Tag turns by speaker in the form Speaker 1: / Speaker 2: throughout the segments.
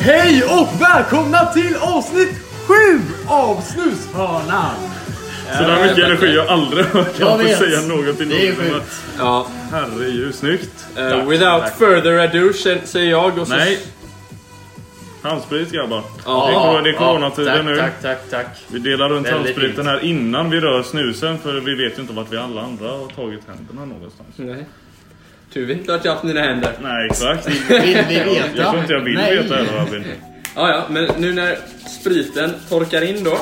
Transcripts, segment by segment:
Speaker 1: Hej och välkomna till avsnitt 7 av Snushörnan!
Speaker 2: Sådär mycket energi har jag aldrig hört
Speaker 1: Jag
Speaker 2: Kalle
Speaker 1: vet.
Speaker 2: säga någonting
Speaker 1: Det är
Speaker 2: om. Men,
Speaker 1: sjukt.
Speaker 3: Ja,
Speaker 2: Herregud, snyggt.
Speaker 3: eh, without further ado kän- säger jag och så...
Speaker 2: Nej. Handsprit grabbar.
Speaker 3: Ja.
Speaker 2: det är, det är
Speaker 4: Ja,
Speaker 2: coronatider
Speaker 4: tack,
Speaker 2: nu.
Speaker 4: Tack, tack, tack.
Speaker 2: Vi delar runt
Speaker 4: Väldigt
Speaker 2: handspriten
Speaker 4: fint.
Speaker 2: här innan vi rör snusen för vi vet ju inte vart vi alla andra har tagit händerna någonstans.
Speaker 3: Nej. Tur vet inte att jag haft mina händer.
Speaker 2: Nej exakt.
Speaker 1: Vill vi veta?
Speaker 2: Jag tror inte jag vill
Speaker 1: Nej.
Speaker 2: veta heller Albin.
Speaker 3: Ja, ja, men nu när spriten torkar in då.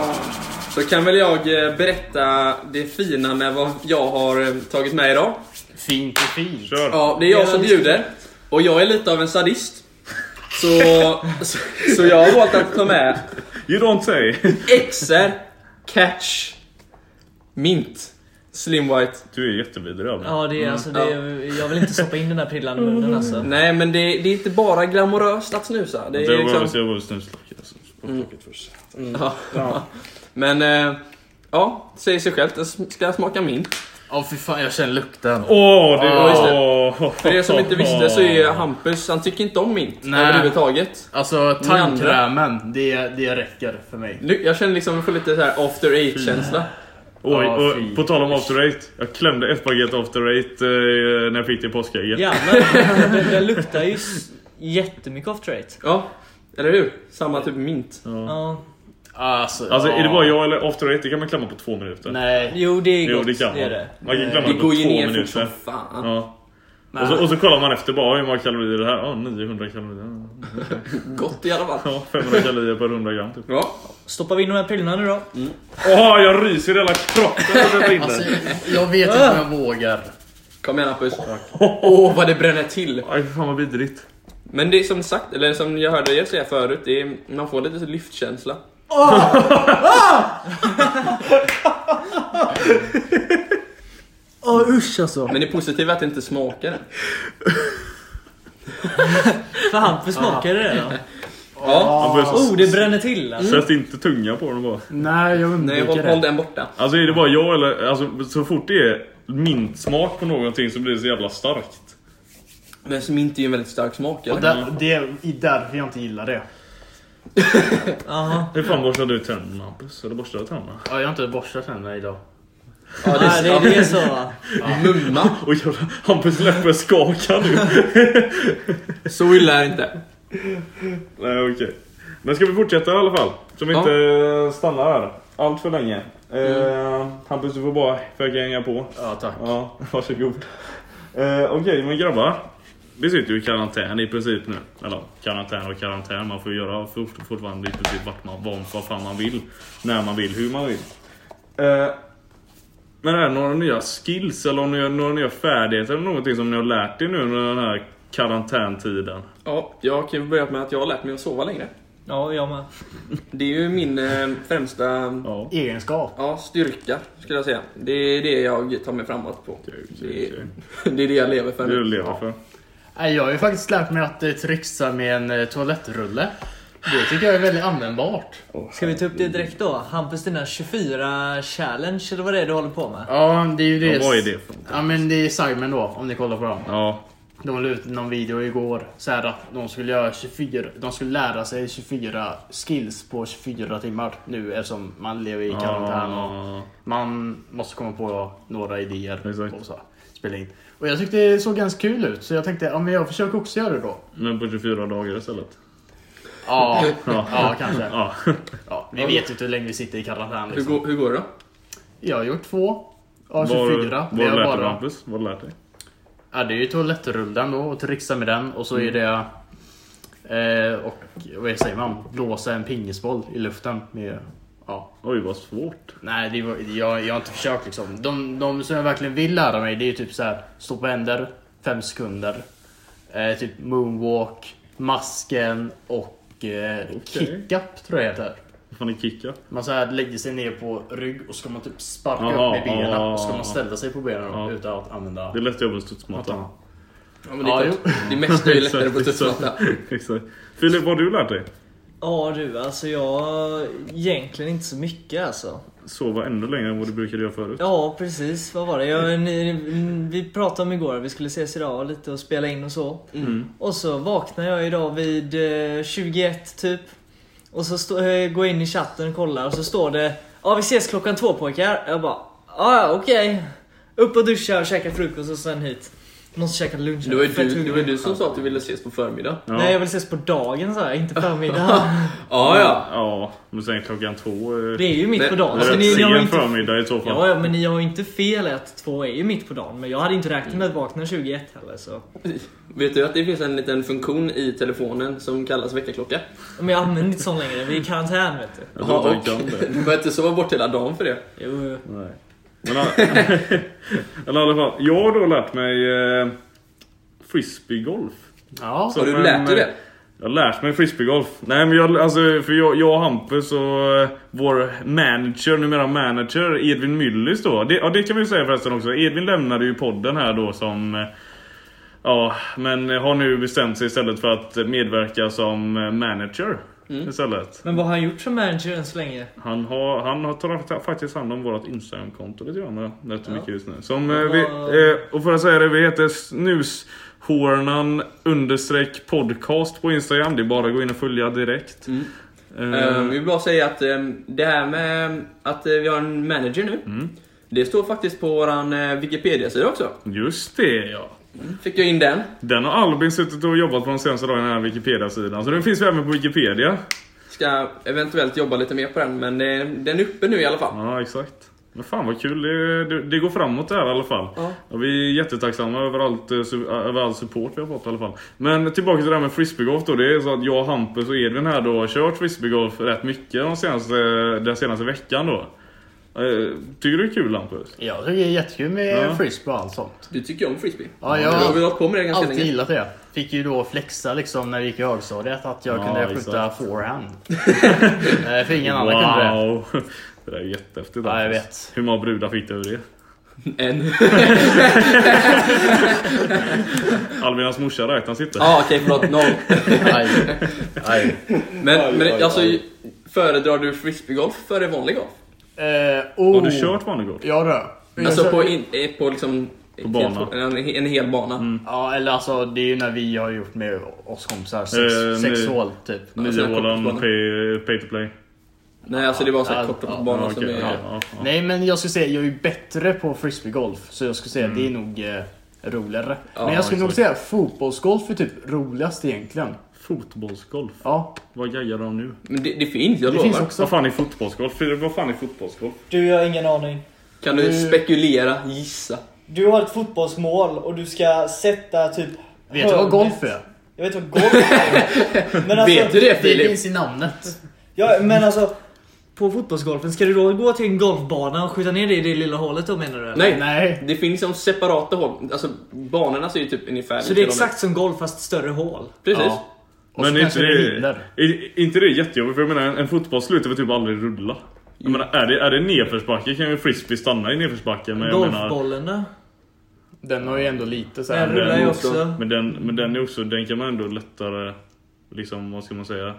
Speaker 3: Så kan väl jag eh, berätta det fina med vad jag har eh, tagit med idag.
Speaker 4: Fint och fint.
Speaker 2: Kör.
Speaker 3: Ja, det är jag som bjuder. Och jag är lite av en sadist. Så, så, så jag har valt att ta med
Speaker 2: You don't say.
Speaker 3: XR Catch Mint Slim White.
Speaker 2: Du är jättevidrig Albin.
Speaker 4: Ja,
Speaker 5: Mm,
Speaker 4: det är, alltså, det är, jag vill inte stoppa in den där prillan i munnen alltså.
Speaker 3: Nej, men det, det är inte bara glamoröst att snusa. Det
Speaker 2: Det
Speaker 3: är
Speaker 2: var
Speaker 3: liksom...
Speaker 2: jag var snuslack. Alltså. Sportlocket först.
Speaker 3: Ja. Men eh, ja, det säger sig självt. Den ska smaka mint.
Speaker 4: Ja, fy fan, jag känner lukten.
Speaker 2: Åh, det
Speaker 3: Ja, just det.
Speaker 2: åh.
Speaker 3: För er som inte visste så är Hampus, han tycker inte om mint
Speaker 4: Nej.
Speaker 3: överhuvudtaget.
Speaker 4: Alltså,
Speaker 3: tandkrämen,
Speaker 4: det, det räcker för mig.
Speaker 3: Nu, jag känner liksom, jag får lite så här after eight känsla.
Speaker 2: Oj,
Speaker 4: Ja,
Speaker 2: och
Speaker 4: fy.
Speaker 2: på tal om after eight. Jag klämde ett paket after eight eh, när jag fick det i påskägget.
Speaker 5: Jävlar, den, den luktar ju s- jättemycket off trait.
Speaker 3: Ja, eller hur? Samma typ mint.
Speaker 5: Ja.
Speaker 4: Alltså,
Speaker 2: Alltså
Speaker 4: ja.
Speaker 2: är det bara jag eller after eight? Det kan man klämma på två minuter.
Speaker 4: Nej.
Speaker 5: Jo, det är gott.
Speaker 2: jo det kan man.
Speaker 5: är det.
Speaker 2: Man kan klämma
Speaker 3: Det
Speaker 2: på två
Speaker 3: går ju ner fort
Speaker 2: minuter.
Speaker 3: som fan.
Speaker 2: Ja. Och, så, och så kollar man efter bara hur många kalorier är det här Ja, 900 kalorier.
Speaker 3: Gott i alla fall.
Speaker 2: Ja, 500 kalorier per 100 gram typ.
Speaker 3: Ja.
Speaker 5: Stoppar vi in de här prillarna nu då?
Speaker 2: Åh, jag ryser i hela kroppen när jag sätter in
Speaker 4: Alltså,
Speaker 2: den.
Speaker 4: jag vet inte om jag vågar.
Speaker 3: Kom igen Hampus. Åh, vad det bränner till.
Speaker 2: Aj, fan vad vidrigt.
Speaker 3: Men det är som sagt, eller som jag hörde er säga förut, det är, man får lite lyftkänsla.
Speaker 5: Åh usch alltså.
Speaker 3: Men det positiva är att det inte smakar än.
Speaker 5: För Hampus smakade det då?
Speaker 3: Ja,
Speaker 2: Man börjar så-
Speaker 5: Oh, det bränner till alltså.
Speaker 2: Sätt inte tunga på den bara.
Speaker 4: Nej, jag
Speaker 3: nej håll, håll den borta.
Speaker 2: Alltså är det bara jag eller, alltså så fort det är mintsmak på någonting så blir det så jävla starkt.
Speaker 3: Men som inte är en väldigt stark smak eller?
Speaker 4: Där, det är därför jag inte gillar det.
Speaker 5: Jaha.
Speaker 2: Hur fan borstar du tänderna Hampus? Eller borstar du tänderna?
Speaker 4: Ja, jag har inte borstat tänderna idag.
Speaker 3: Ja, det
Speaker 4: Mm.
Speaker 5: Ja,
Speaker 3: är,
Speaker 5: det, det är så va?
Speaker 3: mumma.
Speaker 2: Oj jävlar, Hampus läppar skakar nu.
Speaker 3: Så illa är det inte.
Speaker 2: Nej, okej. Men ska vi fortsätta i alla fall? Så vi
Speaker 3: Ja.
Speaker 2: inte eh, stannar här allt för länge. Eh, Hampus, du får bara försöka hänga på.
Speaker 4: Ja, tack.
Speaker 2: Ja, varsågod. Eh, okej, men grabbar. Vi sitter ju i karantän i princip nu. Eller karantän och karantän, man får ju göra fort, fortfarande i princip vart man, vad, vad fan man vill. När man vill, hur man vill. Eh, men är det några nya skills eller några, några nya färdigheter eller någonting som ni har lärt er nu under den här karantäntiden?
Speaker 3: Ja, jag kan ju börja med att jag har lärt mig att sova längre.
Speaker 5: Ja, jag med.
Speaker 3: Det är ju min eh, främsta
Speaker 2: Ja.
Speaker 4: Egenskap.
Speaker 3: ja, styrka, skulle jag säga. Det är det jag tar mig framåt på.
Speaker 2: Okej, okej,
Speaker 3: Det är,
Speaker 2: okej.
Speaker 3: det, är det jag lever för
Speaker 2: Det är det
Speaker 3: nu.
Speaker 2: du lever för.
Speaker 4: Nej, Jag har ju faktiskt lärt mig att eh, trixa med en eh, toalettrulle. Det tycker jag är väldigt användbart.
Speaker 5: Ska vi ta upp det direkt då? Hampus dina 24 challenge eller vad det är du håller på med?
Speaker 4: Ja, det är ju det.
Speaker 2: Ja, vad är det för någonting?
Speaker 4: Ja, men det är Simon då, om ni kollar på dem.
Speaker 2: Ja.
Speaker 4: De la ut någon video igår. Så här att de skulle, göra 24, de skulle lära sig 24 skills på 24 timmar nu eftersom man lever i karantän. och
Speaker 2: Ja.
Speaker 4: Man måste komma på några idéer
Speaker 2: Exakt.
Speaker 4: och så. Spela in. Och jag tyckte det såg ganska kul ut så jag tänkte ja, men jag försöker också göra det då.
Speaker 2: Men på 24 dagar istället.
Speaker 4: Ja,
Speaker 2: Ja.
Speaker 4: ja kanske.
Speaker 2: Ja.
Speaker 4: Ja, vi vet ju inte hur länge vi sitter i karantän.
Speaker 3: Hur,
Speaker 4: Liksom.
Speaker 3: går, hur går det då?
Speaker 4: Jag har gjort två av
Speaker 2: Vad
Speaker 4: 24.
Speaker 2: vad
Speaker 4: Det
Speaker 2: har
Speaker 4: är
Speaker 2: du lärt dig
Speaker 4: bara-
Speaker 2: Hampus? Vad har du lärt dig?
Speaker 4: Ja, det är ju toalettrullen då och trixa med den och så är det... Eh, och vad säger man? Blåsa en pingisboll i luften med... Ja.
Speaker 2: Oj vad svårt.
Speaker 4: Nej, det var, jag, jag har inte försökt liksom. De, de som jag verkligen vill lära mig det är ju typ så här stå på händer, fem sekunder. Eh, typ moonwalk, masken och eh, kick-up tror jag det heter.
Speaker 2: Vad fan är kicka?
Speaker 4: Man så här lägger sig ner på rygg och så ska man typ sparka
Speaker 2: Ja,
Speaker 4: upp med benen
Speaker 2: ja,
Speaker 4: och så ska
Speaker 2: ja.
Speaker 4: man ställa sig på benen då,
Speaker 2: Ja.
Speaker 4: utan att använda...
Speaker 2: Det är lätt jobb att studsmatta.
Speaker 4: Ja.
Speaker 3: Ja, men det,
Speaker 4: Ja,
Speaker 3: är klart, det mesta är ju lättare på
Speaker 2: Exakt,
Speaker 3: tuttmatta.
Speaker 2: exakt. Exakt. Filip, vad har du lärt dig?
Speaker 5: Ja du, alltså jag... Egentligen inte så mycket alltså.
Speaker 2: Sova ännu längre än vad du brukade göra förut.
Speaker 5: Ja precis, vad var det? Jag, ni, vi pratade om igår, vi skulle ses idag lite och spela in och så. Och så vaknar jag idag vid eh, 21 typ. Och så stå, eh, går jag in i chatten och kollar och så står det Ja vi ses klockan två pojkar. Jag bara "Ja, ja okej. Upp och duscha och käka frukost och sen hit. Måste käka lunch.
Speaker 3: Det var ju
Speaker 5: Jag är fett
Speaker 3: du, det var
Speaker 5: hungrig.
Speaker 3: du som sa att du ville ses på förmiddag.
Speaker 2: Ja.
Speaker 5: Nej jag vill ses på dagen sa jag, inte förmiddag.
Speaker 3: Ja, ja.
Speaker 2: Ja, men sen klockan två... eh,
Speaker 5: Det är ju mitt
Speaker 3: Nej,
Speaker 5: på dagen.
Speaker 2: Det är rätt
Speaker 5: så Alltså, ni, ni har ju
Speaker 2: sen
Speaker 5: inte...
Speaker 2: förmiddag i så fall.
Speaker 5: Ja, ja, men ni har ju inte fel i att två är ju mitt på dagen. Men jag hade inte räknat med att vakna 21 heller så.
Speaker 3: Vet du att det finns en liten funktion i telefonen som kallas väckarklocka?
Speaker 5: Men jag använder inte sån längre, vi är i karantän vet du.
Speaker 2: Jag tror inte jag kan det.
Speaker 3: du behöver inte sova bort hela dagen för det.
Speaker 5: Jo, jo.
Speaker 2: Nej. Men, i- eller i alla fall, jag har då lärt mig eh, frisbeegolf.
Speaker 4: Ja.
Speaker 2: Så-
Speaker 3: Har du
Speaker 2: men,
Speaker 3: lärt dig
Speaker 2: eh,
Speaker 3: det?
Speaker 2: Jag har lärt mig frisbeegolf. Nej men jag, alltså, för jag, jag och Hampus och eh, vår manager, numera manager, Edvin Myllys då. Det, ja det kan vi ju säga förresten också. Edvin lämnade ju podden här då som... eh, Ja, men har nu bestämt sig istället för att medverka som eh, manager.
Speaker 3: Mm.
Speaker 2: Istället.
Speaker 5: Men vad har han gjort som manager än så länge?
Speaker 2: Han har, han har tagit faktiskt hand om vårt Instagramkonto lite grann rätt mycket just nu. Som,
Speaker 5: Ja.
Speaker 2: eh, vi, eh, och för att säga det, vi heter snushornan understreck podcast på Instagram. Det är bara att gå in och följa direkt.
Speaker 4: Mm.
Speaker 3: Eh, Vi
Speaker 2: Eh,
Speaker 3: vill bara säga att eh, det här med att eh, vi har en manager nu,
Speaker 4: Mm.
Speaker 3: det står faktiskt på våran eh, Wikipedia-sida också.
Speaker 2: just det ja.
Speaker 3: Fick jag in den.
Speaker 2: Den har Albin suttit och jobbat på de senaste dagarna, den här Wikipedia-sidan. Så den finns ju även på Wikipedia.
Speaker 3: Ska eventuellt jobba lite mer på den, men eh, den är uppe nu i alla fall.
Speaker 2: Ja, exakt. Men fan vad kul, det, det, det går framåt det här i alla fall.
Speaker 3: Ja.
Speaker 2: Och vi är jättetacksamma över, allt, eh, su- över all support vi har fått i alla fall. Men tillbaka till det här med frisbeegolf då. Det är så att jag, Hampus och Edvin här då har kört frisbeegolf rätt mycket de senaste, den senaste veckan då. Eh, Tycker du det är kul Hampus?
Speaker 4: Jag tycker det är jättekul med
Speaker 2: Ja.
Speaker 4: frisbee och allt sånt.
Speaker 3: Du tycker ju om frisbee.
Speaker 4: Ja,
Speaker 3: Du har väl
Speaker 4: jag
Speaker 3: hållit på med det
Speaker 4: har
Speaker 3: ganska
Speaker 4: alltid
Speaker 3: länge?
Speaker 4: gillat det. Fick ju då flexa liksom när vi gick i högstadiet att jag
Speaker 2: Ja,
Speaker 4: kunde skjuta
Speaker 2: exakt.
Speaker 4: forehand. Eh, För ingen annan kunde det.
Speaker 2: wow! Det där är jättehäftigt
Speaker 4: Ja, jag
Speaker 2: Hampus.
Speaker 4: vet.
Speaker 2: Hur många brudar fick du över det?
Speaker 3: En.
Speaker 2: Albin hans morsa räknas inte.
Speaker 3: Ja, okej förlåt. Noll.
Speaker 4: Aj. Aj.
Speaker 3: Men, men alltså, föredrar du frisbeegolf före vanlig golf?
Speaker 4: Eh, oh.
Speaker 2: Har du kört vanlig golf?
Speaker 4: Ja då. Jag
Speaker 3: Alltså
Speaker 4: kör-
Speaker 3: på, in, eh, på liksom... På
Speaker 2: bana.
Speaker 3: En, en hel bana.
Speaker 4: Ja, eller alltså det är ju när vi har gjort med oss kompisar. Sex,
Speaker 2: Eh,
Speaker 4: sex
Speaker 2: nu-
Speaker 4: hål typ.
Speaker 3: alltså,
Speaker 2: Niovålan,
Speaker 3: kortbana.
Speaker 2: pay, pay to play?
Speaker 3: Nej, alltså det var så här
Speaker 4: Ja,
Speaker 3: korta
Speaker 4: ja,
Speaker 3: banor
Speaker 2: Ja,
Speaker 3: som
Speaker 2: okej.
Speaker 3: är...
Speaker 2: ja, ja, ja.
Speaker 4: Nej men jag skulle säga jag är ju bättre på frisbeegolf. Så jag skulle säga det
Speaker 2: Mm.
Speaker 4: är nog eh, roligare.
Speaker 3: Ja,
Speaker 4: men jag skulle nog säga fotbollsgolf är typ roligast egentligen.
Speaker 2: Fotbollsgolf?
Speaker 4: Ja,
Speaker 2: Vad gaggar de nu?
Speaker 3: Men det, det finns, jag
Speaker 4: det
Speaker 3: lovar.
Speaker 4: finns också.
Speaker 2: Vad fan är fotbollsgolf? Filip, vad fan är fotbollsgolf?
Speaker 5: Du, jag har ingen aning.
Speaker 3: Kan du
Speaker 4: Du-
Speaker 3: spekulera, gissa?
Speaker 5: Du har ett fotbollsmål och du ska sätta typ...
Speaker 4: Vet du vad golf är?
Speaker 5: Jag vet vad golf är. Men
Speaker 3: Vet du det
Speaker 4: Det
Speaker 3: Filip?
Speaker 4: finns i namnet.
Speaker 5: Ja, men alltså... På fotbollsgolfen, ska du då gå till en golfbana och skjuta ner det i det lilla hålet då menar du? eller?
Speaker 3: Nej,
Speaker 4: Nej.
Speaker 3: det finns som separata hål. Alltså banorna ser ju typ ungefär
Speaker 5: Så det är
Speaker 3: likadana
Speaker 5: exakt som golf fast större hål?
Speaker 3: ut. Precis.
Speaker 4: Ja. Och
Speaker 2: Men
Speaker 4: så
Speaker 2: är inte
Speaker 4: kanske det
Speaker 2: det,
Speaker 4: vinner.
Speaker 2: är, är inte det jättejobbigt? För jag menar, en, en fotboll slutar väl typ aldrig rulla? Jag menar, är det, är det nedförsbacke kan ju frisbee stanna i nedförsbacken. Men, jag menar,
Speaker 5: Golfbollen då?
Speaker 4: Den har ju ändå lite så
Speaker 5: Den
Speaker 4: här.
Speaker 5: rullar ju
Speaker 2: den-
Speaker 5: också.
Speaker 2: men, den, men den är också, den kan man ändå lättare, liksom vad ska man säga,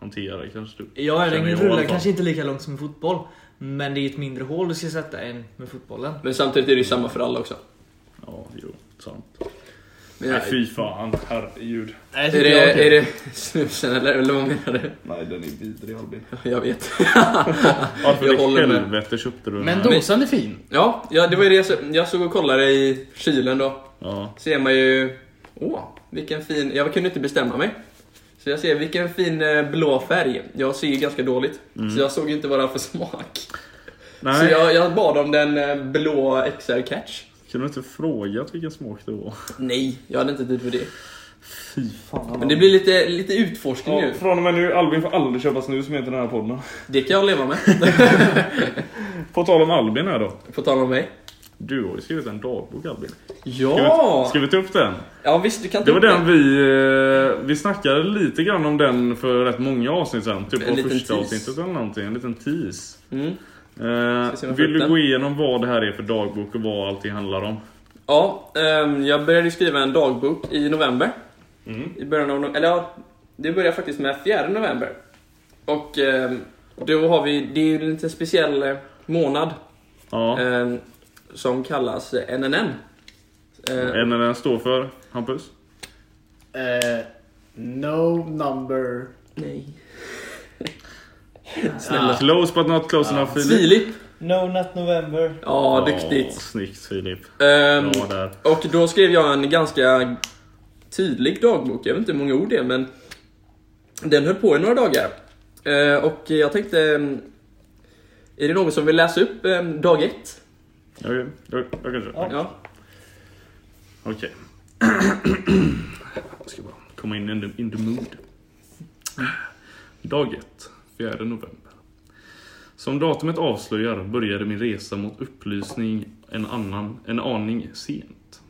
Speaker 2: hantera kanske. Typ.
Speaker 5: Ja,
Speaker 2: Känner
Speaker 5: den
Speaker 2: jag i alla
Speaker 5: rullar
Speaker 2: fall.
Speaker 5: kanske inte lika långt som en fotboll. Men det är ett mindre hål du ska sätta än med fotbollen.
Speaker 3: Men samtidigt är det ju samma för alla också.
Speaker 2: Ja, jo, sant.
Speaker 3: Men,
Speaker 2: Nej,
Speaker 3: är,
Speaker 2: fy fan, herregud.
Speaker 4: Nej, jag tycker jag
Speaker 3: det, är
Speaker 4: kul.
Speaker 3: det snusen eller, eller vad menar du?
Speaker 2: Nej, den är vidrig Albin.
Speaker 3: Jag vet.
Speaker 2: Varför
Speaker 3: Jag
Speaker 2: i
Speaker 3: håller med.
Speaker 2: helvete köpte du den
Speaker 4: Men
Speaker 2: här?
Speaker 4: dosan är fin.
Speaker 3: Ja, ja det var ju det jag, så- jag såg och kollade i kylen då.
Speaker 2: Ja,
Speaker 3: Ser man ju... Åh, vilken fin... Jag kunde inte bestämma mig. Så jag ser vilken fin eh, blå färg. Jag ser ju ganska dåligt. Så jag såg ju inte vad det var för smak. Så
Speaker 2: Mm. nej.
Speaker 3: jag, jag bad om den eh, blå XR Catch.
Speaker 2: Kunde du inte frågat vilken smak det var?
Speaker 3: Nej, jag hade inte tid för det.
Speaker 2: Fy fan.
Speaker 3: Men det blir lite, lite utforskning
Speaker 2: Ja,
Speaker 3: nu.
Speaker 2: från och med nu, Albin får aldrig köpa snus som heter den här podden.
Speaker 3: Det kan jag leva med.
Speaker 2: På tal om Albin här då.
Speaker 3: På tal om mig.
Speaker 2: Du har ju skrivit en dagbok Albin. Ska vi,
Speaker 3: Ja!
Speaker 2: ska vi ta upp den?
Speaker 3: Ja visst, du kan
Speaker 2: Det
Speaker 3: ta
Speaker 2: var
Speaker 3: upp
Speaker 2: den vi... eh, Vi snackade lite grann om den för rätt många avsnitt sen. Typ
Speaker 3: En
Speaker 2: på
Speaker 3: liten
Speaker 2: första
Speaker 3: tease.
Speaker 2: avsnittet eller någonting. En liten tease.
Speaker 3: Mm.
Speaker 2: Eh,
Speaker 3: se om jag får
Speaker 2: vill
Speaker 3: upp
Speaker 2: du
Speaker 3: den.
Speaker 2: gå igenom vad det här är för dagbok och vad allting handlar om?
Speaker 3: Ja, ehm, jag började skriva en
Speaker 2: Mm.
Speaker 3: dagbok i november. I början av no- Eller ja, det började faktiskt med 4 november. Och eh, då har vi, det är ju en lite speciell eh, månad
Speaker 2: Ja.
Speaker 3: eh, som kallas eh, NNN. Eh,
Speaker 2: NNN står för, Hampus?
Speaker 4: Eh, no number...
Speaker 3: nej.
Speaker 4: Snälla.
Speaker 3: Ah.
Speaker 2: Close but not close enough Filip.
Speaker 3: Filip.
Speaker 5: No Not November.
Speaker 3: Ja,
Speaker 2: Ja,
Speaker 3: duktigt.
Speaker 2: snyggt Filip.
Speaker 3: Ehm,
Speaker 2: Bra där.
Speaker 3: Och då skrev jag en ganska tydlig dagbok, jag vet inte hur många ord det är, men den höll på i några dagar. Eh, Och jag tänkte, mm, är det någon som vill läsa upp eh, dag ett?
Speaker 2: Jag, jag, jag, jag kan köra.
Speaker 3: Ja.
Speaker 2: Okej. Jag ska bara komma in in the, in the mood. Dag 1, 4 november. Som datumet avslöjar började min resa mot upplysning en, annan, en aning sent.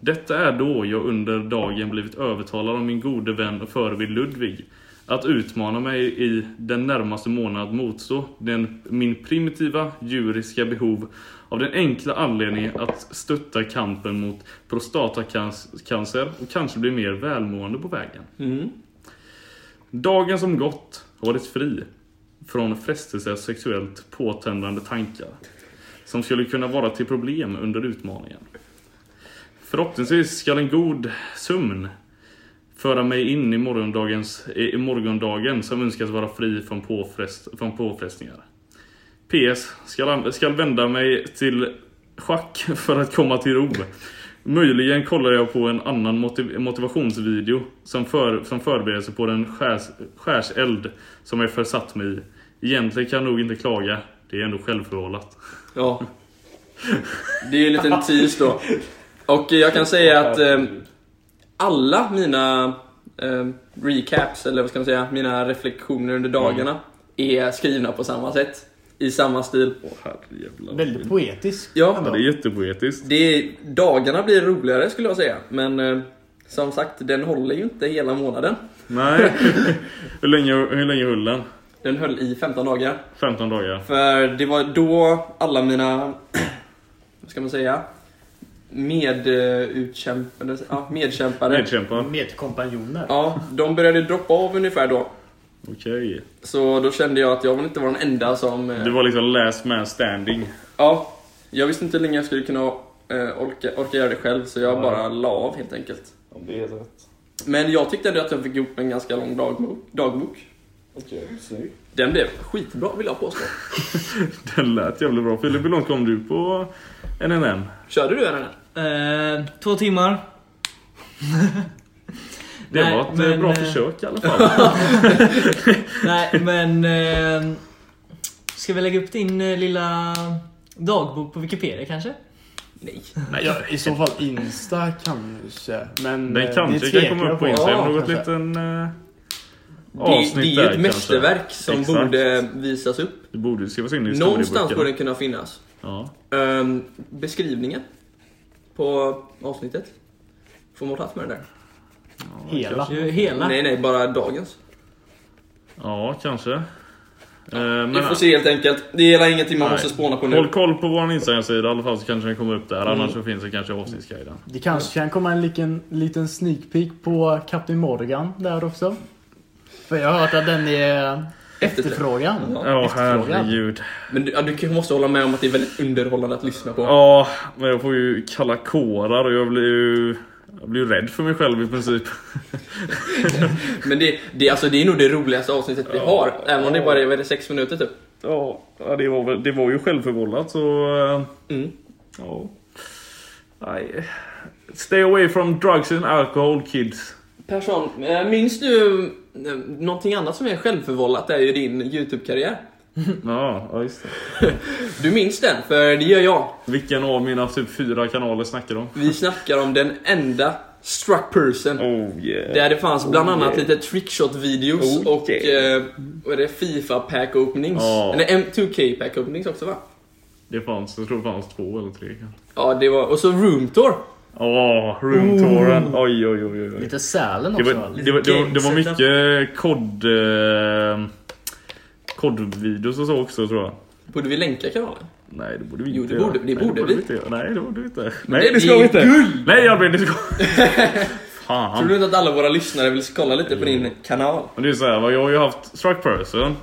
Speaker 2: Detta är då jag under dagen blivit övertalad av min gode vän och förebild Ludvig att utmana mig i den närmaste månaden att motstå den, min primitiva djuriska behov av den enkla anledningen att stötta kampen mot prostatacancer och kanske bli mer välmående på vägen.
Speaker 3: Mm.
Speaker 2: Dagen som gått har varit fri från frestelser och sexuellt påtändande tankar som skulle kunna vara till problem under utmaningen. Förhoppningsvis ska en god sömn föra mig in i morgondagens, i morgondagen som önskas vara fri från, påfrest, från påfrestningar. PS. Skall, an- skall vända mig till schack för att komma till ro. Möjligen kollar jag på en annan motiv- motivationsvideo som, för, som förberedelse på den skärs, skärseld som jag försatt mig i. Egentligen kan jag nog inte klaga. Det är ändå självförvållat.
Speaker 3: ja. Det är ju en liten tease då. Och jag kan säga att eh, alla mina eh, recaps, eller vad ska man säga, mina reflektioner under dagarna är skrivna på samma sätt. I samma stil.
Speaker 2: Åh herrejävlar.
Speaker 4: Väldigt poetisk.
Speaker 3: Ja,
Speaker 2: Det är jättepoetiskt.
Speaker 3: Det, dagarna blir roligare skulle jag säga, men eh, som sagt, den håller ju inte hela månaden.
Speaker 2: Nej. hur, länge, hur länge höll den?
Speaker 3: Den höll i 15 dagar.
Speaker 2: 15 dagar.
Speaker 3: För det var då alla mina, vad ska man säga, med, eh, utkämpade, ja, medkämpare,
Speaker 2: Nedkämpar.
Speaker 4: Med kompanjoner.
Speaker 3: ja, de började droppa av ungefär då.
Speaker 2: Okej.
Speaker 3: Så då kände jag att jag vill inte vara den enda som... eh,
Speaker 2: Du var liksom last man standing.
Speaker 3: Ja, jag visste inte hur länge jag skulle kunna eh, orka, orka göra det själv, så jag bara la av helt enkelt.
Speaker 2: Det är rätt.
Speaker 3: Men jag tyckte ändå att jag fick ihop en ganska lång dagbok. dagbok. Den blev skitbra vill jag påstå.
Speaker 2: Den lät jävligt bra. Filip, hur långt kom du på NNN?
Speaker 3: Körde du den?
Speaker 5: Eh, två timmar.
Speaker 2: Det
Speaker 5: Nej,
Speaker 2: var ett eh,
Speaker 5: men,
Speaker 2: bra
Speaker 5: eh,
Speaker 2: försök i alla fall.
Speaker 5: Nej, men... Eh, ska vi lägga upp din eh, lilla dagbok på Wikipedia kanske?
Speaker 3: Nej.
Speaker 4: Ja, I så fall Insta kanske. Men eh,
Speaker 2: Den
Speaker 4: det
Speaker 2: kanske
Speaker 4: tvekar
Speaker 2: kan komma
Speaker 4: jag
Speaker 2: upp på Instagram.
Speaker 4: Ja,
Speaker 2: Något
Speaker 4: kanske.
Speaker 2: liten eh,
Speaker 3: Det, det är
Speaker 2: avsnitt
Speaker 3: ju
Speaker 2: där
Speaker 3: ett
Speaker 2: kanske.
Speaker 3: mästerverk som
Speaker 2: Exakt.
Speaker 3: borde visas upp.
Speaker 2: Det borde skrivas in i
Speaker 3: Någonstans
Speaker 2: historieboken.
Speaker 3: borde den kunna finnas.
Speaker 2: Ja.
Speaker 3: Ehm, beskrivningen på avsnittet. Får man plats med den där?
Speaker 4: Hela.
Speaker 5: Du, hela.
Speaker 3: Nej, nej, bara dagens.
Speaker 2: ja, kanske. Eh,
Speaker 3: Vi får
Speaker 2: men,
Speaker 3: se helt enkelt. Det är hela ingenting man
Speaker 2: Nej.
Speaker 3: måste spåna på
Speaker 2: håll
Speaker 3: nu.
Speaker 2: koll på vår Instagram-sida i alla fall så kanske den kommer upp där. Annars så finns det kanske i avsnittsguiden.
Speaker 4: Det kanske kan komma en liten, liten sneak peek på Captain Morgan där också. För jag har hört att den är efterfrågan.
Speaker 3: Ja.
Speaker 2: Ja,
Speaker 4: Efterfrågan.
Speaker 2: herregud.
Speaker 3: Men du, ja, du kan- måste hålla med om att det är väldigt underhållande att lyssna på.
Speaker 2: Ja, men jag får ju kalla kårar och jag blir ju... Jag blir ju rädd för mig själv i princip.
Speaker 3: Men det, det, alltså, det är nog det roligaste avsnittet vi har. Även om det bara är, vad är det, sex minuter typ.
Speaker 2: Ja, ja, det var, väl- det var ju självförvållat så... eh,
Speaker 3: Mm.
Speaker 2: Ja. Nej. Stay away from drugs and alcohol kids.
Speaker 3: Persson, eh, minns du eh, någonting annat som är självförvållat? Det är ju din YouTube-karriär.
Speaker 2: Ja, ja, just det.
Speaker 3: Du minns den, för det gör jag.
Speaker 2: Vilken av mina typ fyra kanaler snackar du om?
Speaker 3: Vi snackar om den enda struck person.
Speaker 2: Oh yeah.
Speaker 3: Där det fanns bland
Speaker 2: Oh, yeah.
Speaker 3: annat lite trickshot-videos
Speaker 2: Oh,
Speaker 3: och
Speaker 2: yeah.
Speaker 3: eh, vad är det, FIFA-pack-openings.
Speaker 2: Ja.
Speaker 3: Eller M2K-pack-openings också va?
Speaker 2: Det fanns, jag tror det fanns två eller tre kanske.
Speaker 3: Ja, det var... Och så room tour.
Speaker 2: Åh, roomtouren. Oj, oj, oj, oj. oj.
Speaker 4: Lite Sälen
Speaker 2: Det
Speaker 4: också.
Speaker 2: var,
Speaker 4: väl?
Speaker 2: det, var, det, var, det var mycket kod... Eh, kodvideos och så också tror jag.
Speaker 3: Borde vi länka kanalen?
Speaker 2: Nej, det borde vi inte
Speaker 3: Jo, det
Speaker 2: göra.
Speaker 3: borde- det
Speaker 2: Nej,
Speaker 3: borde vi.
Speaker 2: inte göra. Nej, det borde vi inte. Nej, det
Speaker 3: det
Speaker 2: ska vi
Speaker 3: är
Speaker 2: inte.
Speaker 3: guld!
Speaker 2: Nej, Albin, det ska fan.
Speaker 3: Tror du inte att alla våra lyssnare vill kolla lite på din kanal?
Speaker 2: Men det är så här, va, jag har ju haft Struck Person.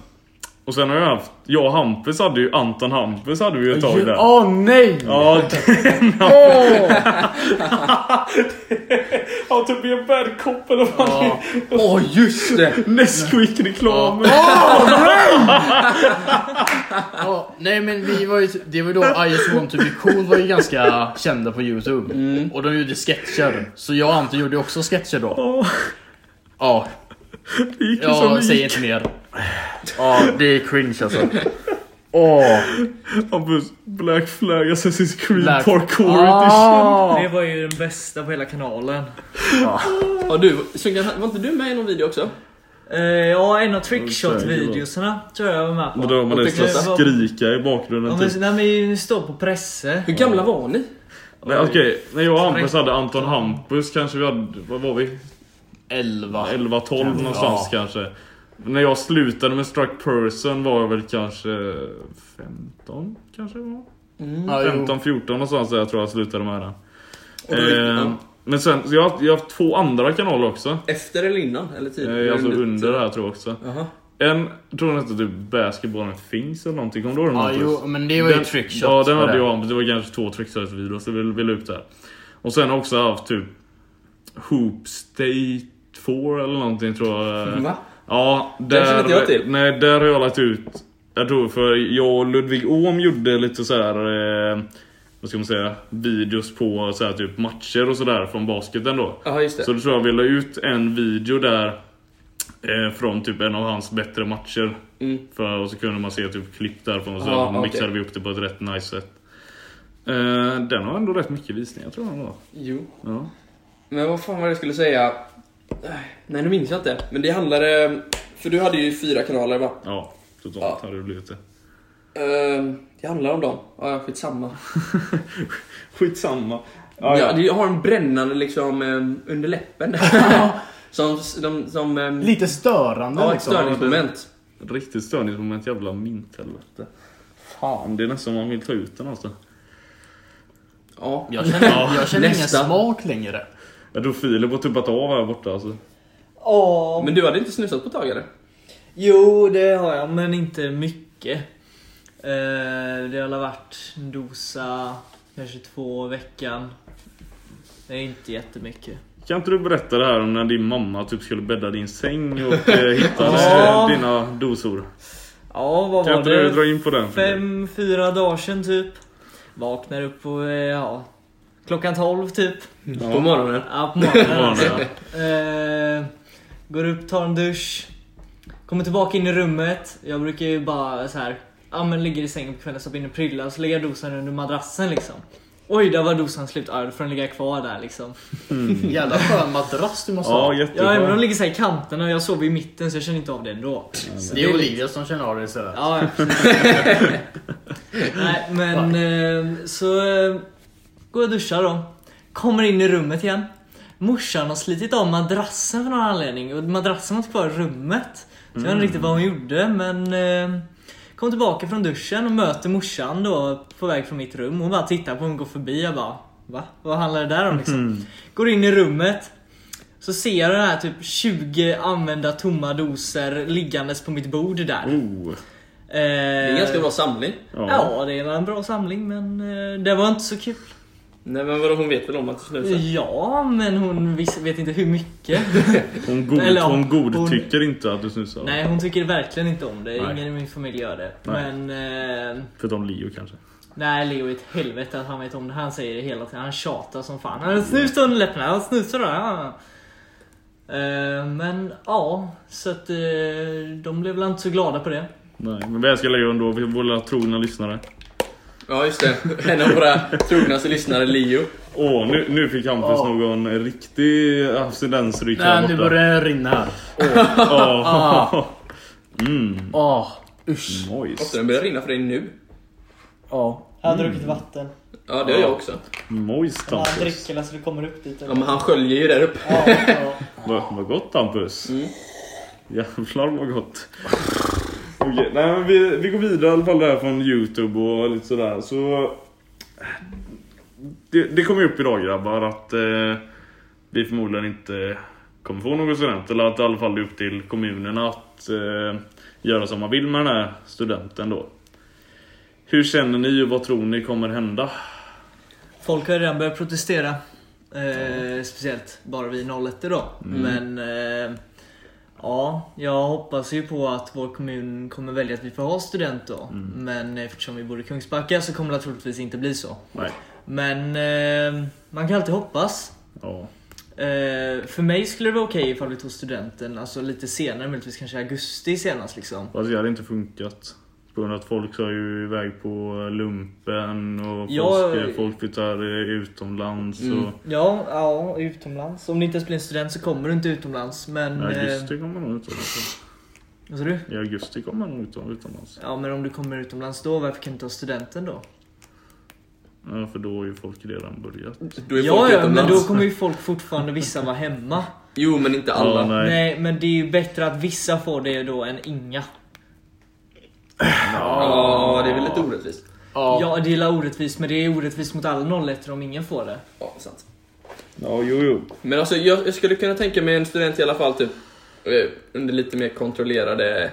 Speaker 2: Och sen har jag haft, jag och Hampus hade ju, Anton Hampus hade vi ju ett tag där.
Speaker 4: Åh nej!
Speaker 2: Ja, den Hampus. How to be a bad cop eller vad fan det är.
Speaker 3: Åh just det!
Speaker 2: Nesquik-reklamen.
Speaker 4: Ja, nej men vi var ju, det var ju då I just want to be cool var ju ganska kända på youtube. Och de gjorde sketcher. Så jag och Anton gjorde också sketcher då.
Speaker 2: Åh,
Speaker 4: Ja,
Speaker 2: Det gick ju som
Speaker 4: jag
Speaker 2: det
Speaker 4: säger
Speaker 2: gick.
Speaker 4: inte mer. Ja, det är cringe alltså. Åh,
Speaker 2: Hampus, Black Flag, Assassin's Creed
Speaker 4: Black-
Speaker 2: Parkour Edition.
Speaker 4: Ah.
Speaker 5: Det var ju den bästa på hela kanalen.
Speaker 3: Ja, du, Sunkan, var inte du med i någon video också?
Speaker 5: Eh, ja, en
Speaker 2: Mm,
Speaker 5: av trickshot-videosarna tror jag jag var med
Speaker 2: Och
Speaker 5: på.
Speaker 2: Mm, då har man nästan
Speaker 5: Återklossa.
Speaker 2: skrika i
Speaker 5: Ja,
Speaker 2: bakgrunden
Speaker 5: men,
Speaker 2: typ.
Speaker 5: nej, men ni står på presse.
Speaker 3: Hur gamla var ni?
Speaker 2: Nej okej, när jag och Hampus hade Anton Hampus kanske vi hade, vad var vi?
Speaker 4: 11.
Speaker 2: 11-12 någonstans kanske. När jag slutade med Struck Person var jag väl kanske 15 kanske det var?
Speaker 4: Ja, jo.
Speaker 2: 15-14 någonstans där jag tror jag slutade med den.
Speaker 3: Och då-
Speaker 2: Eh,
Speaker 3: ja.
Speaker 2: men sen, så jag, har haft- jag har haft två andra kanaler också.
Speaker 3: Efter eller innan? Eller typ tidigare?
Speaker 2: Eh, alltså under det här tror jag också.
Speaker 3: Jaha.
Speaker 2: En, tror jag inte typ Basketballen Things eller någonting, kommer du ihåg den?
Speaker 4: Ja,
Speaker 2: Hampus?
Speaker 4: jo, men det var ju trickshot.
Speaker 2: Ja, den
Speaker 4: för
Speaker 2: hade
Speaker 4: det.
Speaker 2: jag. men Det var kanske två trickshots-videor, så vi, vi la ut där. Och sen har jag också haft typ Hoop State 4 eller någonting tror jag.
Speaker 3: Va?
Speaker 2: Ja,
Speaker 3: Den känner
Speaker 2: där,
Speaker 3: inte jag till.
Speaker 2: Nej, där har jag lagt ut. Jag tror för jag och Ludvig Åhm gjorde lite så här. Eh, vad ska man säga? Videos på så här, typ matcher och sådär från basketen då.
Speaker 3: Jaha, just det.
Speaker 2: Så då tror jag vi la ut en video där eh, från typ en av hans bättre matcher.
Speaker 3: Mm.
Speaker 2: För, och så kunde man se typ klipp därifrån och så
Speaker 3: Ja, okej.
Speaker 2: mixade vi upp det på ett rätt nice sätt. Eh, den har ändå rätt mycket visningar tror jag den har.
Speaker 3: Jo.
Speaker 2: Ja.
Speaker 3: Men vad fan var det jag skulle säga? Nej, nu minns jag inte. Men det handlade... För du hade ju fyra kanaler va?
Speaker 2: Ja, totalt
Speaker 3: Ja.
Speaker 2: hade det blivit det.
Speaker 3: Ehm, Det handlar om dem. Ja, skitsamma.
Speaker 2: Skitsamma.
Speaker 3: Ja,
Speaker 2: Ja, ja.
Speaker 3: det har en brännande liksom ehm, under läppen. som... som, som ehm,
Speaker 4: Lite störande
Speaker 3: ja, ett
Speaker 4: liksom.
Speaker 3: störningsmoment.
Speaker 2: Riktigt störningsmoment jävla minthelvete. Fan, det är nästan man vill ta ut den alltså.
Speaker 3: Ja.
Speaker 4: Jag känner,
Speaker 2: Ja,
Speaker 4: jag känner ingen
Speaker 3: nästan.
Speaker 4: smak längre.
Speaker 2: Jag tror Filip har tuppat av här borta alltså.
Speaker 5: Ja.
Speaker 3: Men du hade inte snusat på ett tag eller?
Speaker 5: Jo, det har jag, men inte mycket. Eh, det har väl varit en dosa, kanske två i veckan. Det är inte jättemycket.
Speaker 2: Kan inte du berätta det här om när din mamma typ skulle bädda din säng och eh, hittade
Speaker 5: Ja.
Speaker 2: eh, dina dosor?
Speaker 5: Ja, vad
Speaker 2: Kan
Speaker 5: var
Speaker 2: inte du dra
Speaker 5: det?
Speaker 2: in på den? Filip?
Speaker 5: Fem, fyra dagar sedan typ. Vaknar upp på, eh, ja, klockan tolv typ.
Speaker 3: På morgonen?
Speaker 5: Ja, på morgonen
Speaker 2: morgonen,
Speaker 5: alltså. eh, Går upp, tar en dusch. Kommer tillbaka in i rummet. Jag brukar ju bara så här. Ja men ligger i sängen på kvällen, stoppar in en prylla och så lägger jag dosan under madrassen liksom. Oj, där var dosan slut. Ja, då får den ligga kvar där liksom.
Speaker 4: Jävla skön madrass du måste
Speaker 2: Ja,
Speaker 4: ha.
Speaker 5: Ja, men de
Speaker 2: jättebra.
Speaker 5: ligger så här i kanterna och jag sover i mitten så jag känner inte av det ändå. Så
Speaker 4: Det är
Speaker 5: lite-
Speaker 4: Olivia som känner av det istället.
Speaker 5: Ja, ja. Nej, men eh, så eh, går jag och duschar då. Kommer in i rummet igen. Morsan har slitit av madrassen för någon anledning och madrassen var kvar i rummet. Så jag vet inte riktigt vad hon gjorde men eh, kom tillbaka från duschen och möter morsan då på väg från mitt rum. Hon bara tittar på mig och går förbi. Jag bara va? Vad handlar det där om liksom? Går in i rummet. Så ser jag den här typ 20 använda tomma doser liggandes på mitt bord där.
Speaker 2: Oh,
Speaker 5: Det
Speaker 3: Det är en ganska bra samling.
Speaker 2: ja.
Speaker 5: Eh, Ja, det var en bra samling men eh, det var inte så kul.
Speaker 3: Nej men vadå, hon vet väl om att du snusar?
Speaker 5: Ja, men hon vis- vet inte hur mycket.
Speaker 2: Hon, god,
Speaker 5: Eller om-
Speaker 2: hon godtycker
Speaker 5: hon-
Speaker 2: inte att du snusar.
Speaker 5: Nej, hon tycker verkligen inte om det.
Speaker 2: Nej.
Speaker 5: Ingen i min familj gör det.
Speaker 2: Nej.
Speaker 5: Men... Eh,
Speaker 2: Förutom Leo kanske.
Speaker 5: nej, Leo är ett helvete att han vet om det. Han säger det hela tiden. Han tjatar som fan.
Speaker 3: Mm.
Speaker 5: Han snusar under läpparna. Han snusar där. Ja. Eh, men ja, så att eh, de blev väl inte så glada på det.
Speaker 2: Nej, men vi älskar Leo ändå, vi är våra trogna lyssnare.
Speaker 3: Ja just det, en av våra trognaste lyssnare, Leo.
Speaker 2: Åh, nu, nu fick Hampus
Speaker 4: Ja.
Speaker 2: någon riktig abstinensryck
Speaker 4: Nej, nu
Speaker 2: här borta.
Speaker 4: börjar det rinna här.
Speaker 2: Ja. Mm,
Speaker 4: Åh, usch.
Speaker 3: Måste
Speaker 2: moist.
Speaker 3: den börja rinna för dig nu?
Speaker 4: Ja.
Speaker 5: Jag har druckit
Speaker 3: Mm.
Speaker 5: vatten.
Speaker 3: Ja det har jag också.
Speaker 2: Moist Hampus.
Speaker 5: så det kommer upp dit.
Speaker 3: Ja men han sköljer ju där uppe.
Speaker 2: Vad vad gott Hampus. Jävlar vad gott. Okej, nej, men vi, vi går vidare i alla fall där från Youtube och lite sådär. Så, det, det kom ju upp idag grabbar att eh, vi förmodligen inte kommer få någon student. Eller att i alla fall det är upp till kommunerna att eh, göra som man vill med den här studenten då. Hur känner ni och vad tror ni kommer hända?
Speaker 5: Folk har ju redan börjat protestera. Eh, speciellt bara vi 01 idag. Men eh, ja, jag hoppas ju på att vår kommun kommer välja att vi får ha student då. Men eftersom vi bor i Kungsbacka så kommer det troligtvis inte bli så.
Speaker 2: Nej.
Speaker 5: Men eh, man kan alltid hoppas.
Speaker 2: Ja.
Speaker 5: Eh, för mig skulle det vara okej ifall vi tog studenten alltså lite senare, möjligtvis kanske i augusti senast liksom.
Speaker 2: Fast det hade inte funkat. På grund av att folk sa ju iväg på lumpen och
Speaker 5: Ja.
Speaker 2: folk, folk flyttar eh, utomlands.
Speaker 3: Mm.
Speaker 2: Och,
Speaker 5: Ja, ja, utomlands. Om det inte ens blir en student så kommer du inte utomlands. Men...
Speaker 2: I
Speaker 5: eh,
Speaker 2: augusti kommer de utomlands.
Speaker 5: vad sa du?
Speaker 2: I augusti kommer de utom- utomlands.
Speaker 5: Ja men om du kommer utomlands då, varför kan du inte ha studenten då?
Speaker 2: Ja, för då har ju folk redan börjat.
Speaker 3: Då är
Speaker 5: ja,
Speaker 3: folk
Speaker 5: ja men
Speaker 3: utomlands.
Speaker 5: då kommer ju folk fortfarande vissa vara hemma.
Speaker 3: Jo, men inte alla.
Speaker 2: Ja, nej.
Speaker 5: Nej. men det är ju bättre att vissa får det då än inga.
Speaker 3: Ja, det är väl lite orättvist.
Speaker 4: Ja.
Speaker 5: Ja det är la orättvist men det är orättvist mot alla 01 om ingen får det.
Speaker 3: Ja, sant.
Speaker 2: Ja, jo, jo.
Speaker 3: Men alltså, jag, jag skulle kunna tänka mig en student i alla fall, typ, eh, under lite mer kontrollerade, eh,